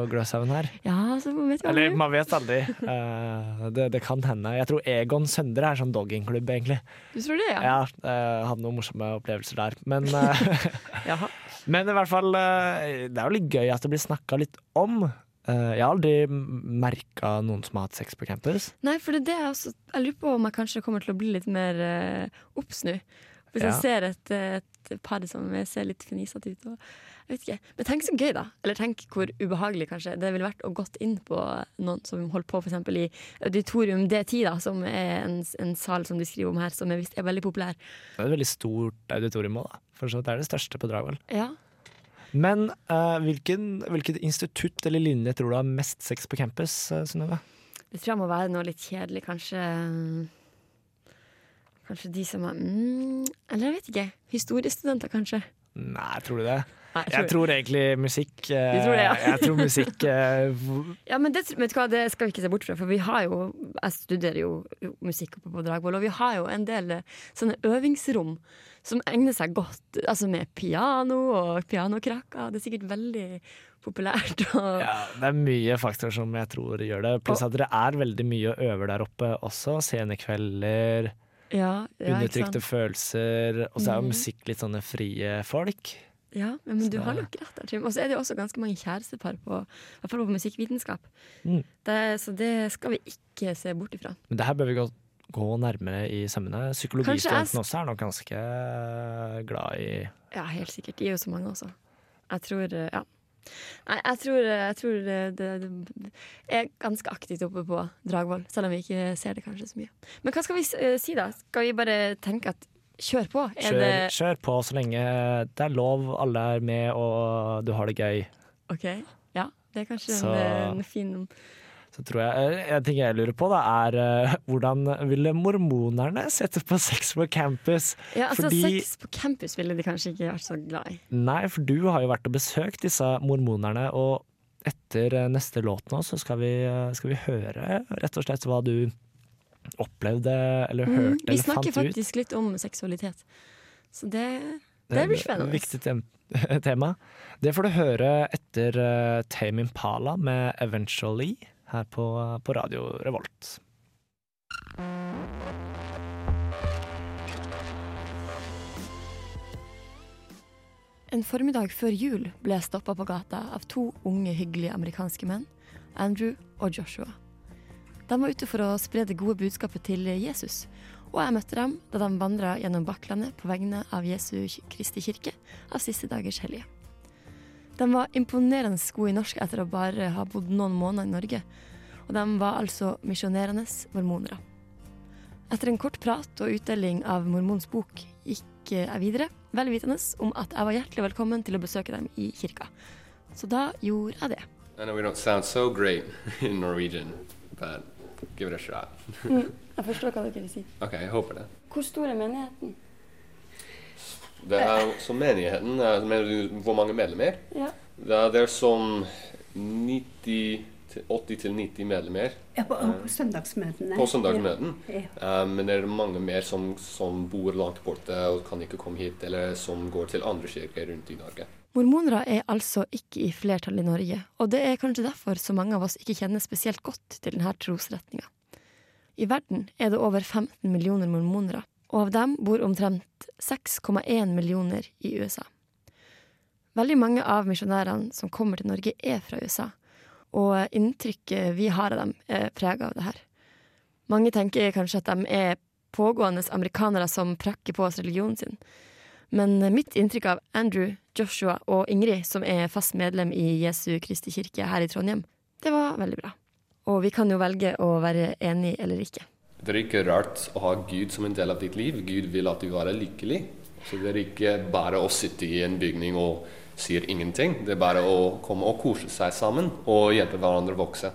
[SPEAKER 2] Gløshaugen her.
[SPEAKER 3] Ja, så vet jeg
[SPEAKER 2] Eller
[SPEAKER 3] aldri.
[SPEAKER 2] man vet aldri. Eh, det, det kan hende. Jeg tror Egon Søndre er sånn doggingklubb, egentlig.
[SPEAKER 3] Du tror det, ja?
[SPEAKER 2] Ja, eh, hadde noen morsomme opplevelser der. Men eh, <laughs>
[SPEAKER 3] Jaha.
[SPEAKER 2] Men i hvert fall, eh, det er jo litt gøy at det blir snakka litt om. Eh, Jeg har aldri merka noen som har hatt sex på campus.
[SPEAKER 3] Nei, for det er det jeg også Jeg lurer på om jeg kanskje kommer til å bli litt mer uh, obs nå. Hvis
[SPEAKER 2] Ja.
[SPEAKER 3] jeg ser et, eh, et par som ser litt fnisete ut. Og, jeg vet ikke. Men tenk så gøy, da. Eller tenk hvor ubehagelig kanskje det ville vært å gått inn på noen som holder på f.eks. i Auditorium D10, da, som er en, en sal som de skriver om her, som er, visst er veldig populær.
[SPEAKER 2] Det er et veldig stort auditorium òg, da. For så vidt er det største på Dragvoll.
[SPEAKER 3] Ja.
[SPEAKER 2] Men eh, hvilken, hvilket institutt eller linje tror du har mest sex på campus, eh, Synnøve?
[SPEAKER 3] Det tror jeg må være noe litt kjedelig, kanskje mm, Kanskje de som er mm, Eller jeg vet ikke. Historiestudenter, kanskje.
[SPEAKER 2] Nei, tror du det?
[SPEAKER 3] Nei, jeg
[SPEAKER 2] Jeg
[SPEAKER 3] tror-
[SPEAKER 2] tror egentlig musikk. eh,
[SPEAKER 3] Du tror det, ja.
[SPEAKER 2] jeg tror musikk
[SPEAKER 3] <laughs>
[SPEAKER 2] eh, hvor-
[SPEAKER 3] Ja, men det, vet du hva, det skal vi ikke se bort fra, for vi har jo Jeg studerer jo musikk oppe på Dragvoll, og vi har jo en del eh, sånne øvingsrom som egner seg godt. Altså med piano og pianokrakker. Det er sikkert veldig populært. Og,
[SPEAKER 2] ja, Det er mye faktorer som jeg tror gjør det. Pluss at dere er veldig mye og øver der oppe også. Scenekvelder.
[SPEAKER 3] ja, ja, ikke sant? Mhm.
[SPEAKER 2] Undertrykte følelser. Og så er jo musikk litt sånne frie folk.
[SPEAKER 3] Ja, men du
[SPEAKER 2] Så-
[SPEAKER 3] har nok rett der, Trym. Og så er det jo også ganske mange kjærestepar på, i hvert fall på musikkvitenskap.
[SPEAKER 2] Mm.
[SPEAKER 3] Det, så det skal vi ikke se bort ifra.
[SPEAKER 2] Men det her bør vi gå, gå nærmere i sømmene. Psykologistudentene
[SPEAKER 3] sk-
[SPEAKER 2] også er nok ganske eh, glad i
[SPEAKER 3] Ja, helt sikkert. De er jo så mange også. Jeg tror eh, Ja. Nei, jeg tror, eh, jeg tror det, det, det er ganske aktivt oppe på Dragvoll, selv om vi ikke ser det kanskje så mye. Men hva skal vi s- eh, si, da? Skal vi bare tenke at kjør på? Er
[SPEAKER 2] kjør,
[SPEAKER 3] det
[SPEAKER 2] kjør på så lenge det er lov, alle er med og du har det gøy.
[SPEAKER 3] OK? Ja, det er kanskje
[SPEAKER 2] Så-
[SPEAKER 3] en, en fin
[SPEAKER 2] Så tror jeg, eh, En ting jeg lurer på, da, er eh, <laughs> hvordan ville mormonerne sette på sex på campus?
[SPEAKER 3] Ja, altså
[SPEAKER 2] Fordi-
[SPEAKER 3] Sex på campus ville de kanskje ikke vært så glad i.
[SPEAKER 2] Nei, for du har jo vært og besøkt disse mormonerne, og etter eh, neste låt nå så skal vi, eh, skal vi høre rett og slett hva du opplevde eller hørte
[SPEAKER 3] Mm, Vi
[SPEAKER 2] eller
[SPEAKER 3] snakker
[SPEAKER 2] fant ut.
[SPEAKER 3] faktisk litt om seksualitet. Så det, det blir spennende.
[SPEAKER 2] Eh, Viktig tem <laughs> tema. Det får du høre etter eh, Tame Impala med 'Eventually' her på, på Radio Revolt.
[SPEAKER 3] En formiddag før jul ble jeg stoppa på gata av to unge, hyggelige amerikanske menn, Andrew og Joshua. De var ute for å spre det gode budskapet til Jesus, og jeg møtte dem da de vandra gjennom Bakklandet på vegne av Jesu Kristi kirke av siste dagers hellige. De var imponerende gode i norsk etter å bare ha bodd noen måneder i Norge, og de var altså misjonerende mormonere. Etter en kort prat og utdeling av Mormons bok gikk eh, jeg videre, vel vitende om at jeg var hjertelig velkommen til å besøke dem i kirka. Så da gjorde jeg det.
[SPEAKER 7] I know we don't sound so great <laughs> in Norwegian, but give it a shot.
[SPEAKER 8] Mm,
[SPEAKER 7] <laughs>
[SPEAKER 8] Jeg forstår hva dere sier.
[SPEAKER 7] Okay, jeg håper det.
[SPEAKER 8] Hvor stor er menigheten?
[SPEAKER 7] Det er jo som menigheten eh, Mener du hvor mange medlemmer?
[SPEAKER 8] Ja.
[SPEAKER 7] Det er, sånn det er som 80-90 medlemmer
[SPEAKER 9] Ja, på, på søndagsmøtene.
[SPEAKER 7] på søndagsmøten.
[SPEAKER 9] Ja.
[SPEAKER 7] Eh, men det er mange mer som, som bor langt borte og kan ikke komme hit, eller som går til andre kirker rundt i Norge.
[SPEAKER 3] Mormonere er altså ikke i flertall i Norge, og det er kanskje derfor så mange av oss ikke kjenner spesielt godt til denne trosretninga. I verden er det over 15 millioner mormonere, og av dem bor omtrent 6,1 millioner i USA. Veldig mange av misjonærene som kommer til Norge, er fra USA, og inntrykket vi har av dem, er prega av det her. Mange tenker kanskje at de er pågående amerikanere som prakker på oss religionen sin. Men mitt inntrykk av Andrew, Joshua og Ingrid, som er fast medlem i Jesu Kristi kirke her i Trondheim, det var veldig bra. Og vi kan jo velge å være enig eller ikke.
[SPEAKER 7] Det er ikke rart å ha Gud som en del av ditt liv. Gud vil at du er lykkelig. Så det er ikke bare å sitte i en bygning og sier ingenting. Det er bare å komme og kose seg sammen og hjelpe hverandre å vokse.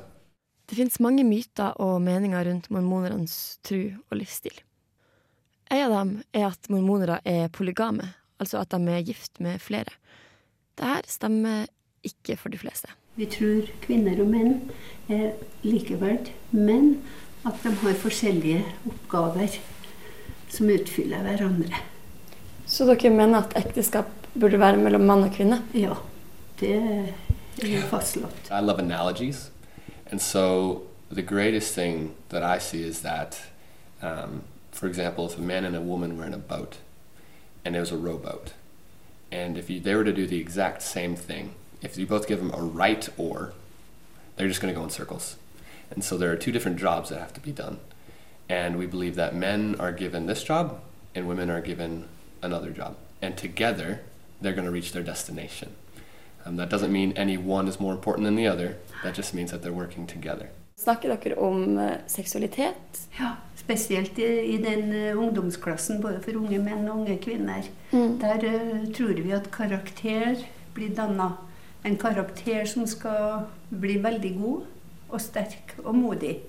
[SPEAKER 3] Det finnes mange myter og meninger rundt mormonernes tru og livsstil. En av dem er at mormonere er polygame, altså at de er gift med flere. Dette stemmer ikke for de fleste.
[SPEAKER 9] Vi tror kvinner og menn er likeverd, men at de har forskjellige oppgaver som utfyller hverandre.
[SPEAKER 3] Så dere mener at ekteskap burde være mellom mann og kvinne?
[SPEAKER 9] Ja, det er fastslått.
[SPEAKER 7] I love analogies. And so the greatest thing that I see is that, um, for example, if a man and a woman were in a boat and it was a rowboat, and if you, they were to do the exact same thing, if you both give them a right oar, they're just going to go in circles. And so there are two different jobs that have to be done. And we believe that men are given this job and women are given another job. And together, they're going to reach their destination. Um, that doesn't mean any one is more important than the other. That just means that they're working together.
[SPEAKER 8] Snakker dere om eh, seksualitet?
[SPEAKER 9] Ja, spesielt i, i den eh, ungdomsklassen, både for unge menn og unge kvinner. Der eh, tror vi at karakter blir danna. En karakter som skal bli veldig god og sterk og modig.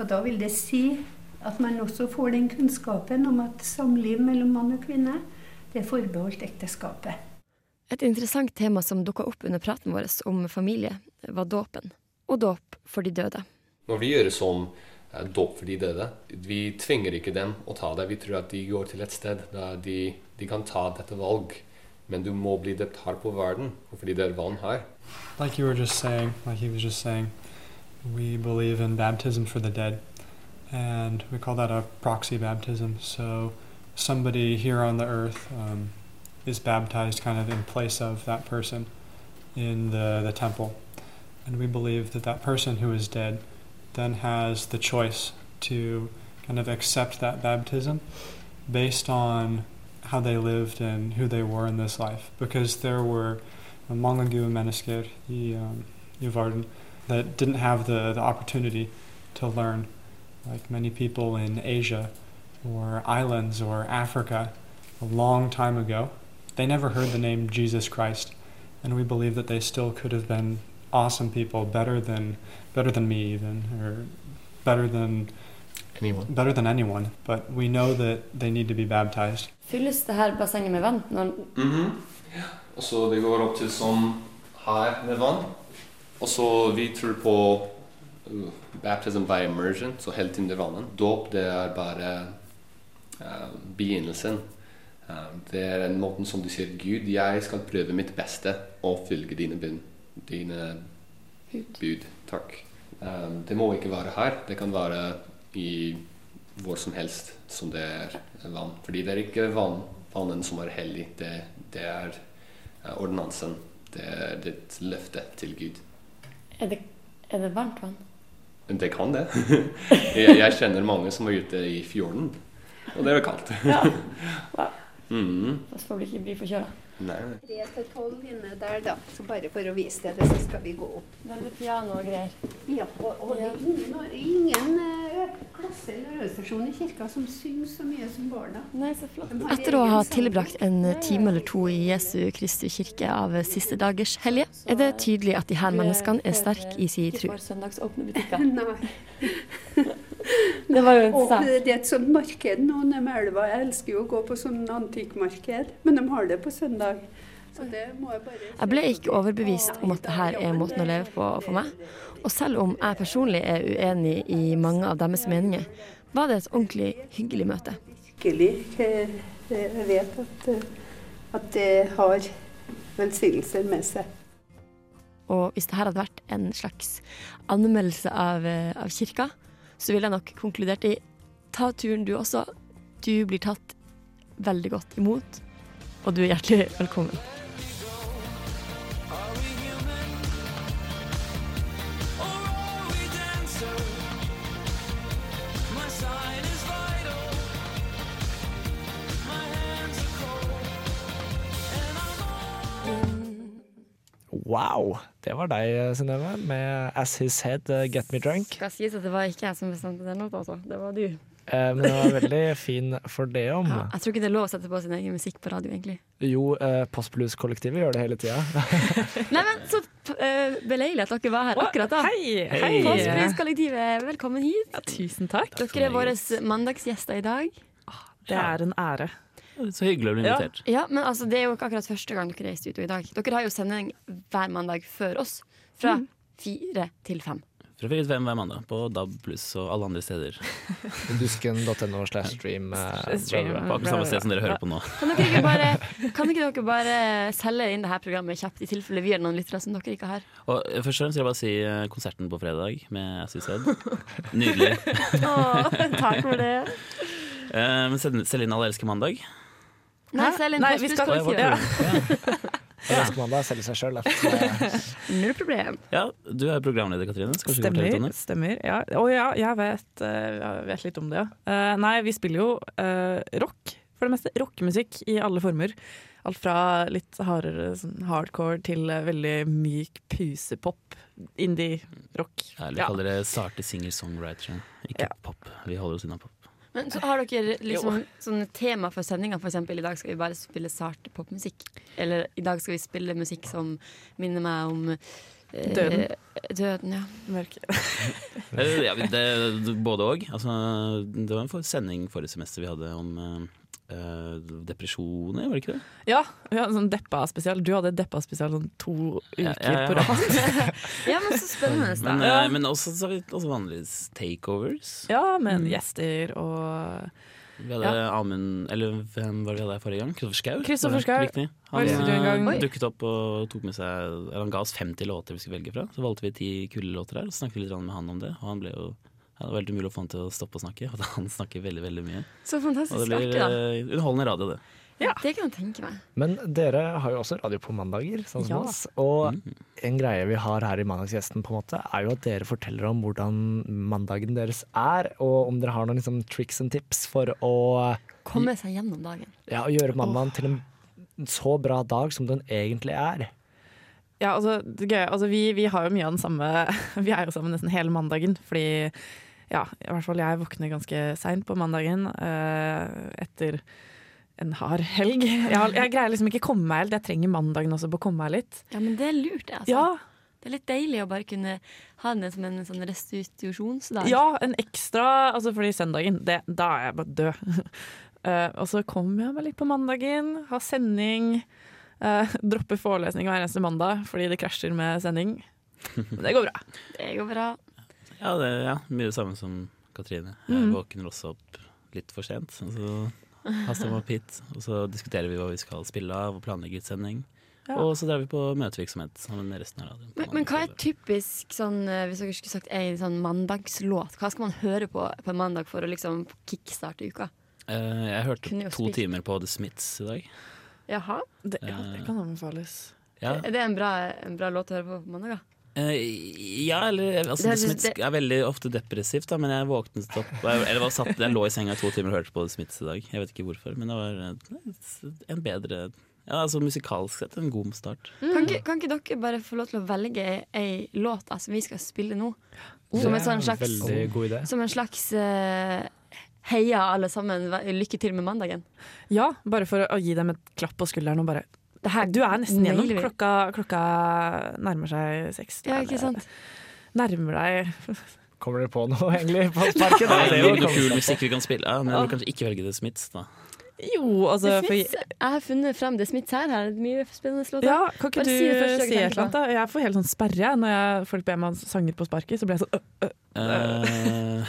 [SPEAKER 9] Og da vil det si at man også får den kunnskapen om at samliv mellom mann og kvinne, det er forbeholdt ekteskapet.
[SPEAKER 3] Et interessant tema som dukka opp under praten vår om familie, var dåpen. Og dåp for de døde.
[SPEAKER 7] Når vi gjør det som eh, dåp for de døde, vi tvinger ikke dem å ta det. Vi tror at de går til et sted der de, de kan ta dette valg. Men du må bli døpt her på verden, fordi det er vann her.
[SPEAKER 10] Like you were just saying, like he was just saying, we believe in baptism for the dead, and we call that a proxy baptism. So somebody here on the earth um, is baptized kind of in place of that person in the, the temple. And we believe that that person who is dead then has the choice to kind of accept that baptism based on how they lived and who they were in this life. Because there were mange gode mennesker uh, i, um, i verden that didn't have the, the opportunity to learn, like many people in Asia or islands or Africa a long time ago. They never heard the name Jesus Christ, and we believe that they still could have been awesome people, better than better than me even, or better than
[SPEAKER 7] anyone.
[SPEAKER 10] Better than anyone. But we know that they need to be baptized.
[SPEAKER 8] Fylles det her bassenget med vann? Når...
[SPEAKER 7] Og så det går opp til sånn her med vann. Og så vi tror på uh, baptism by immersion, så helt inn i vannet. Dåp det er bare uh, begynnelsen. Uh, det er en måte som du sier Gud, jeg skal prøve mitt beste å følge dine bud. Dine bud. Takk. Um, det må ikke være her. Det kan være i hvor som helst som det er vann. Fordi det er ikke vann, vannet som er hellig. Det, det er eh, ordinansen. Det er ditt løfte til Gud.
[SPEAKER 8] Er, det, er det varmt vann?
[SPEAKER 7] Men Det kan det. <laughs> jeg, jeg kjenner mange som er ute i fjorden, og det er jo kaldt. <laughs>
[SPEAKER 8] Ja.
[SPEAKER 7] Mhm.
[SPEAKER 8] Da får vi ikke bli forkjøla.
[SPEAKER 7] Nei, nei.
[SPEAKER 11] Tre til tolv inne der, da. Så bare for å vise deg det, så skal vi gå opp.
[SPEAKER 8] Det er piano og greier.
[SPEAKER 11] Ja, og, og det er ingen, ingen eh, klasse eller organisasjon i kirka som synger så mye som barna.
[SPEAKER 8] Nei, så flott.
[SPEAKER 3] Etter å ha tilbrakt en time eller to i Jesu Kristi kirke av siste dagers hellige, er det tydelig at de her menneskene er sterke i sin tro.
[SPEAKER 8] Eh, søndagsåpne butikker.
[SPEAKER 11] Nei.
[SPEAKER 8] <laughs> Det var jo
[SPEAKER 11] Og
[SPEAKER 8] interessant.
[SPEAKER 11] det er et sånt marked nå nede ved elva. Jeg elsker jo å gå på sånn antikkmarked, men de har det på søndag. Så det må jeg bare
[SPEAKER 3] Jeg ble ikke overbevist om at dette er måten å leve på for meg. Og selv om jeg personlig er uenig i mange av deres meninger, var det et ordentlig hyggelig møte.
[SPEAKER 11] virkelig eh, eh, vet at, eh, at det har velsignelser med seg.
[SPEAKER 3] Og hvis det her hadde vært en slags anmeldelse av, eh, av kirka, så ville jeg nok konkludert i ta turen du også. Du blir tatt veldig godt imot, og du er hjertelig velkommen.
[SPEAKER 4] My sign is vital. My hands are cold.
[SPEAKER 2] Wow! Det var deg, eh, Synnøve, med As His Head, eh, Get Me Drunk.
[SPEAKER 3] Skal sies at det var ikke jeg som bestemte den låta, altså. Det var du.
[SPEAKER 2] Eh, Men det var veldig <laughs> fin for det om.
[SPEAKER 3] Ja, jeg tror ikke det er lov å sette på sin egen musikk på radio, egentlig.
[SPEAKER 2] Jo, eh, Postblues-kollektivet gjør det hele tida.
[SPEAKER 3] <laughs> Nei, men så uh, beleilig at dere var her akkurat da. Hei!
[SPEAKER 2] hei.
[SPEAKER 3] Postpriskollektivet, velkommen hit.
[SPEAKER 12] Tusen takk.
[SPEAKER 3] Dere er våre mandagsgjester i dag.
[SPEAKER 12] Det er en ære.
[SPEAKER 13] Så hyggelig å bli invitert.
[SPEAKER 3] Ja, ja, men altså, Det er jo ikke akkurat første gang dere er i studio i dag. Dere har jo sending hver mandag før oss. Fra
[SPEAKER 12] Mm.
[SPEAKER 3] fire til fem.
[SPEAKER 13] Fra 4 til 5 hver mandag på DAB pluss og alle andre steder.
[SPEAKER 2] Dusken.no slash stream. eh,
[SPEAKER 13] Stream,
[SPEAKER 2] bla, bla, bla.
[SPEAKER 13] På akkurat samme sted som dere hører på nå.
[SPEAKER 3] Kan dere ikke bare, kan ikke dere bare selge inn det her programmet kjapt, i tilfelle vi er noen lyttere som dere ikke har?
[SPEAKER 13] Og eh, først og fremst vil jeg bare si eh, konserten på fredag med As You Said. Nydelig.
[SPEAKER 3] Åh, takk for det.
[SPEAKER 13] Eh, Men send- selg inn Alle elsker mandag.
[SPEAKER 3] Nei, selg inn
[SPEAKER 12] Nei, vi skal-
[SPEAKER 3] Postpriskollektivet.
[SPEAKER 2] Alle elsker mandag, selger seg sjøl.
[SPEAKER 3] <laughs> Null problem.
[SPEAKER 13] Ja, du er programleder, Katrine. Så kanskje du kan fortelle litt om
[SPEAKER 12] Stemmer.
[SPEAKER 13] det?
[SPEAKER 12] stemmer ja. Å ja, jeg vet, eh, jeg vet litt om det, ja. Eh, nei, vi spiller jo eh, rock, for det meste. Rockemusikk i alle former. Alt fra litt hardere sånn hardcore til eh, veldig myk pusepop. Indie-rock.
[SPEAKER 13] Ja, Eller kaller det sarte singer-songwritere. Ikke pop. Vi holder oss unna pop.
[SPEAKER 3] Men så har dere liksom
[SPEAKER 13] Jo.
[SPEAKER 3] sånne tema for sendinga, f.eks. i dag skal vi bare spille sart popmusikk. Eller i dag skal vi spille musikk som minner meg om eh,
[SPEAKER 12] Døden.
[SPEAKER 3] Døden, ja.
[SPEAKER 13] <laughs> Eh, Ja, det, både òg. Altså, det var en for sending forrige semester vi hadde om eh, eh, depresjoner, var det ikke det?
[SPEAKER 12] Ja, vi hadde en sånn deppa-spesial. Du hadde deppa-spesial sånn to uker
[SPEAKER 13] Ja, ja, ja.
[SPEAKER 12] på
[SPEAKER 13] <laughs>
[SPEAKER 12] rad.
[SPEAKER 3] ja, men så spennende.
[SPEAKER 13] Men,
[SPEAKER 12] da.
[SPEAKER 13] eh, men også, så har vi også vanlige takeovers.
[SPEAKER 12] ja, med gjester og
[SPEAKER 13] Mm. Vi hadde Amund Eller hvem var det vi hadde her forrige gang? Kristoffer Schau?
[SPEAKER 12] Kristoffer
[SPEAKER 13] var det
[SPEAKER 12] Schau.
[SPEAKER 13] riktig?
[SPEAKER 12] Var i studio en
[SPEAKER 13] Han
[SPEAKER 12] gang.
[SPEAKER 13] eh, dukket opp og tok med seg eller Han ga oss 50 låter vi skulle velge fra. Så valgte vi ti kule låter her, og så snakket vi litt grann med han om det. Og han ble jo ja, Det var helt umulig å få han til å stoppe å snakke, <laughs> for han snakker veldig, veldig mye.
[SPEAKER 3] Så fantastisk
[SPEAKER 13] Og det blir
[SPEAKER 3] artig, da.
[SPEAKER 13] eh, underholdende radio, det.
[SPEAKER 3] Det kan jeg tenke meg.
[SPEAKER 2] Men dere har jo også radio på mandager, sånn som
[SPEAKER 3] Ja.
[SPEAKER 2] oss. Og en greie vi har her i Mandagsgjesten, på en måte, er jo at dere forteller om hvordan mandagen deres er, og om dere har noen liksom, tricks and tips for å,
[SPEAKER 3] Komme seg gjennom dagen.
[SPEAKER 2] ja, å gjøre mandagen til en så bra dag som den egentlig er.
[SPEAKER 12] Ja, altså, det gøye, altså vi, vi har jo mye av den samme <laughs> Vi er jo sammen nesten hele mandagen, fordi ja, i hvert fall jeg våkner ganske seint på mandagen eh, etter en hard helg. Jeg, har- jeg greier liksom ikke å komme meg helt, jeg trenger mandagen også på å komme meg litt.
[SPEAKER 3] Ja, men det er lurt, det, altså.
[SPEAKER 12] Ja,
[SPEAKER 3] Det er litt deilig å bare kunne ha den som en sånn restitusjonsdag.
[SPEAKER 12] Ja, en ekstra Altså fordi søndagen, det, da er jeg bare død. <laughs> Eh, og så kommer jeg meg litt på mandagen, har sending. eh, dropper forelesning hver eneste mandag fordi det krasjer med sending. Men det går bra.
[SPEAKER 3] Det går bra.
[SPEAKER 13] Ja, det, ja, mye det samme som Katrine. Jeg
[SPEAKER 12] Mm.
[SPEAKER 13] våkner også opp litt for sent, og så haster jeg meg opp hit. Og så diskuterer vi hva vi skal spille av, og planlegger utsending.
[SPEAKER 3] Ja.
[SPEAKER 13] Og så drar vi på møtevirksomhet sammen med resten av radioen.
[SPEAKER 3] Men, men hva er typisk sånn, eh, hvis dere skulle sagt en sånn mandagslåt? Hva skal man høre på på en mandag for å liksom kickstarte uka?
[SPEAKER 13] Eh, jeg
[SPEAKER 3] Kunne jo
[SPEAKER 13] hørte to
[SPEAKER 3] spilt.
[SPEAKER 13] timer på The Smiths i dag.
[SPEAKER 3] Jaha.
[SPEAKER 12] Det,
[SPEAKER 13] ja, det
[SPEAKER 12] kan anbefales.
[SPEAKER 13] Ja,
[SPEAKER 3] Er det en bra, en bra låt å høre på på mandag? da?
[SPEAKER 13] Eh, ja eller altså, The
[SPEAKER 3] Det er-
[SPEAKER 13] Smiths
[SPEAKER 3] det-
[SPEAKER 13] er veldig ofte depressivt, da, men jeg våknet opp Eller var satt, jeg lå i senga i to timer og hørte på The Smiths i dag. Jeg vet ikke hvorfor, men det var eh, en bedre Ja, altså musikalsk sett en god start.
[SPEAKER 3] Kan, ikke, kan ikke dere bare få lov til å velge ei låt da, som vi skal spille nå? Som
[SPEAKER 2] Det
[SPEAKER 3] en,
[SPEAKER 2] er
[SPEAKER 3] sånn
[SPEAKER 2] en
[SPEAKER 3] slags,
[SPEAKER 2] veldig god idé.
[SPEAKER 3] som en slags eh, heia alle sammen, vær- lykke til med mandagen.
[SPEAKER 12] Ja, bare for å gi dem et klapp på skulderen og bare Du er nesten gjennom.
[SPEAKER 3] nailer vi.
[SPEAKER 12] Klokka, klokka nærmer seg seks.
[SPEAKER 3] Ja, ikke sant?
[SPEAKER 12] Nærmer deg
[SPEAKER 2] Kommer dere på noe, egentlig? På
[SPEAKER 13] Det
[SPEAKER 2] sparket? Det er
[SPEAKER 13] er
[SPEAKER 2] det
[SPEAKER 13] veldig
[SPEAKER 2] jo
[SPEAKER 13] mye kul
[SPEAKER 2] kommer-
[SPEAKER 13] musikk vi kan spille. Ja, men
[SPEAKER 12] Ja.
[SPEAKER 13] vi kan kanskje ikke velge The Smiths, da.
[SPEAKER 12] Jo, altså
[SPEAKER 3] Det
[SPEAKER 12] for,
[SPEAKER 3] finnes- jeg har funnet frem det smitt her. Her er det mye spennende låter.
[SPEAKER 12] Ja, kan ikke
[SPEAKER 3] Bare
[SPEAKER 12] du si,
[SPEAKER 3] det første dere
[SPEAKER 12] et
[SPEAKER 3] tenker
[SPEAKER 12] eller
[SPEAKER 3] på.
[SPEAKER 12] annet, da? Jeg får helt sånn sperre jeg, når jeg, folk ber meg om sanger på sparket. Så blir jeg sånn øh, øh.
[SPEAKER 13] Eh,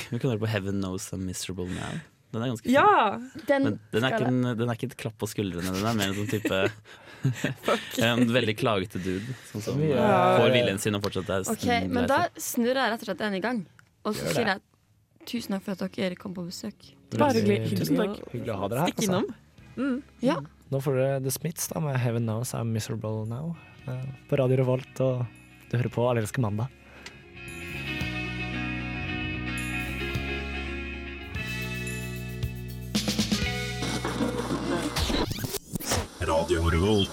[SPEAKER 13] <laughs> vi kan høre på Heaven Knows I'm Miserable Now. Den er ganske fin.
[SPEAKER 12] Ja!
[SPEAKER 13] Men den er, ikke en, den er ikke et klapp på skuldrene, den er mer en sånn type En veldig klagete dude som, som eh,
[SPEAKER 3] Ja.
[SPEAKER 13] får viljen sin og fortsatt er
[SPEAKER 3] Ok, Men da snurrer jeg rett og slett den i gang. Og så
[SPEAKER 13] Gjør det.
[SPEAKER 3] sier jeg tusen takk for at dere kom på besøk.
[SPEAKER 12] Bare hyggelig.
[SPEAKER 2] Tusen takk. Hyggelig å ha dere her. altså.
[SPEAKER 12] Stikk innom.
[SPEAKER 3] Ja.
[SPEAKER 2] Nå får dere The Smiths da, med Heaven Knows I'm Miserable Now eh, på Radio Revolt. Og du hører på Allelske mandag.
[SPEAKER 5] Radio Revolt.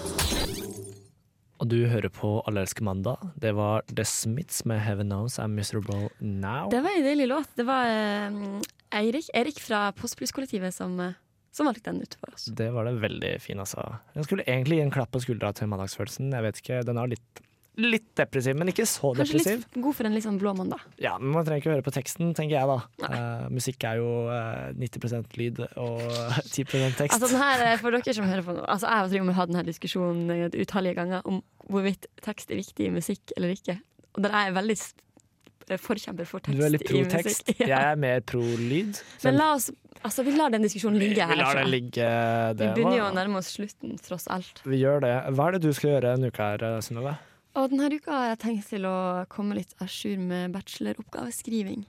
[SPEAKER 2] Og du hører på Allelske mandag. Det var The Smiths med Heaven Knows I'm Miserable Now.
[SPEAKER 3] Det var en deilig låt. Det var eh, Eirik, Erik fra Postpluss-kollektivet som, eh, som valgte den ut for oss.
[SPEAKER 2] Det var det veldig fin, altså. Jeg skulle egentlig gi en klapp på skuldra til mandagsfølelsen. Jeg vet ikke, Den er litt, litt depressiv, men ikke så
[SPEAKER 3] Kanskje
[SPEAKER 2] depressiv.
[SPEAKER 3] litt god for en litt sånn blå mandag.
[SPEAKER 2] Ja, men Man trenger ikke høre på teksten, tenker jeg da. Eh, musikk er jo eh, 90 lyd og <laughs> 10 tekst.
[SPEAKER 3] Altså den her, eh, for dere som hører på nå Altså Jeg og Trym har hatt denne diskusjonen eh, utallige ganger om hvorvidt tekst er viktig i musikk eller ikke. Og der er jeg veldig s- forkjemper for tekst
[SPEAKER 2] du er litt
[SPEAKER 3] i
[SPEAKER 2] pro tekst.
[SPEAKER 3] musikk. <laughs> Ja.
[SPEAKER 2] Jeg er mer pro lyd.
[SPEAKER 3] Men la oss Altså vi lar den diskusjonen ligge her.
[SPEAKER 2] Vi lar
[SPEAKER 3] tror
[SPEAKER 2] det
[SPEAKER 3] jeg.
[SPEAKER 2] ligge.
[SPEAKER 3] Vi
[SPEAKER 2] Det
[SPEAKER 3] begynner jo å
[SPEAKER 2] var-
[SPEAKER 3] nærme oss slutten, tross alt.
[SPEAKER 2] Vi gjør det. Hva er det du skal gjøre en uke her, Synnøve?
[SPEAKER 3] Og denne uka har jeg tenkt til å komme litt à jour med bacheloroppgaveskriving.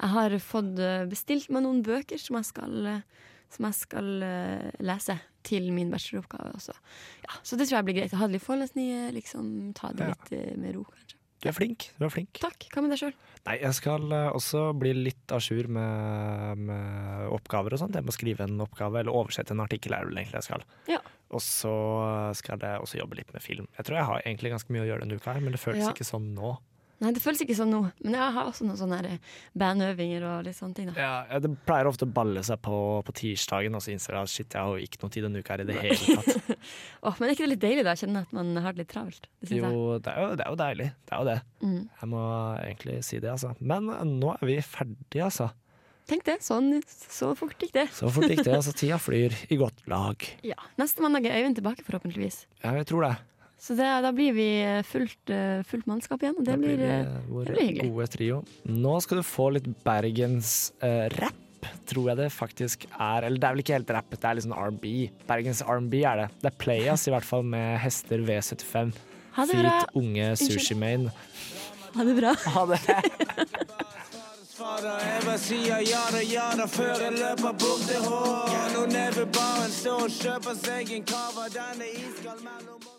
[SPEAKER 3] Jeg har fått eh, bestilt meg noen bøker som jeg skal, eh, som jeg skal eh, lese til min bacheloroppgave også. Ja, så det tror jeg blir greit. Jeg hadde litt forelesninger, liksom ta det
[SPEAKER 2] Ja.
[SPEAKER 3] litt eh, med ro, kanskje.
[SPEAKER 2] Du er flink. Du er flink.
[SPEAKER 3] Takk. Hva med deg sjøl?
[SPEAKER 2] Nei, jeg skal eh, også bli litt à jour med, med oppgaver og sånt. Jeg må skrive en oppgave, eller oversette en artikkel, er det vel egentlig jeg skal.
[SPEAKER 3] Ja.
[SPEAKER 2] Og så skal jeg også jobbe litt med film. Jeg tror jeg har egentlig ganske mye å gjøre denne uka her, men det føles
[SPEAKER 3] Ja.
[SPEAKER 2] ikke sånn nå.
[SPEAKER 3] Nei, det føles ikke sånn nå, men jeg har også noen sånne her, eh, bandøvinger og litt sånne ting. da.
[SPEAKER 2] Ja, ja, det pleier ofte å balle seg på på tirsdagen, og så innser jeg at shit, jeg har jo ikke noe tid denne
[SPEAKER 3] <laughs>
[SPEAKER 2] uka her i det hele tatt.
[SPEAKER 3] Åh, men er ikke det litt deilig da? Jeg kjenner at man har det litt travelt. Det synes jeg.
[SPEAKER 2] Jo, det er jo, det er jo deilig. Det er jo det.
[SPEAKER 3] Mm.
[SPEAKER 2] Jeg må egentlig si det, altså. Men eh, nå er vi ferdige, altså.
[SPEAKER 3] Tenk det. Sånn, så fort gikk det.
[SPEAKER 2] Så fort gikk det. Altså, tida flyr i godt lag.
[SPEAKER 3] ja. Neste mandag er Øyvind tilbake, forhåpentligvis.
[SPEAKER 2] Ja, jeg tror det.
[SPEAKER 3] Så det, da blir vi fullt, eh, fullt mannskap igjen, og det, blir, eh,
[SPEAKER 2] vår
[SPEAKER 3] det blir hyggelig.
[SPEAKER 2] gode trio. Nå skal du få litt Bergens eh, rapp, tror jeg det faktisk er. Eller det er vel ikke helt rapp, det er litt sånn R&B. Bergens R&B er det. Det er Playas i hvert fall med Hester V75.
[SPEAKER 3] Ha det bra.
[SPEAKER 2] Feet unge
[SPEAKER 3] Unnskyld.
[SPEAKER 2] sushimain.
[SPEAKER 3] Ha det bra.
[SPEAKER 2] Ha det.
[SPEAKER 4] Svarer ever sier ja da, ja da, før jeg løper bort til hår. Nå nede ved baren står og kjøper seg en cava, den er iskald mellom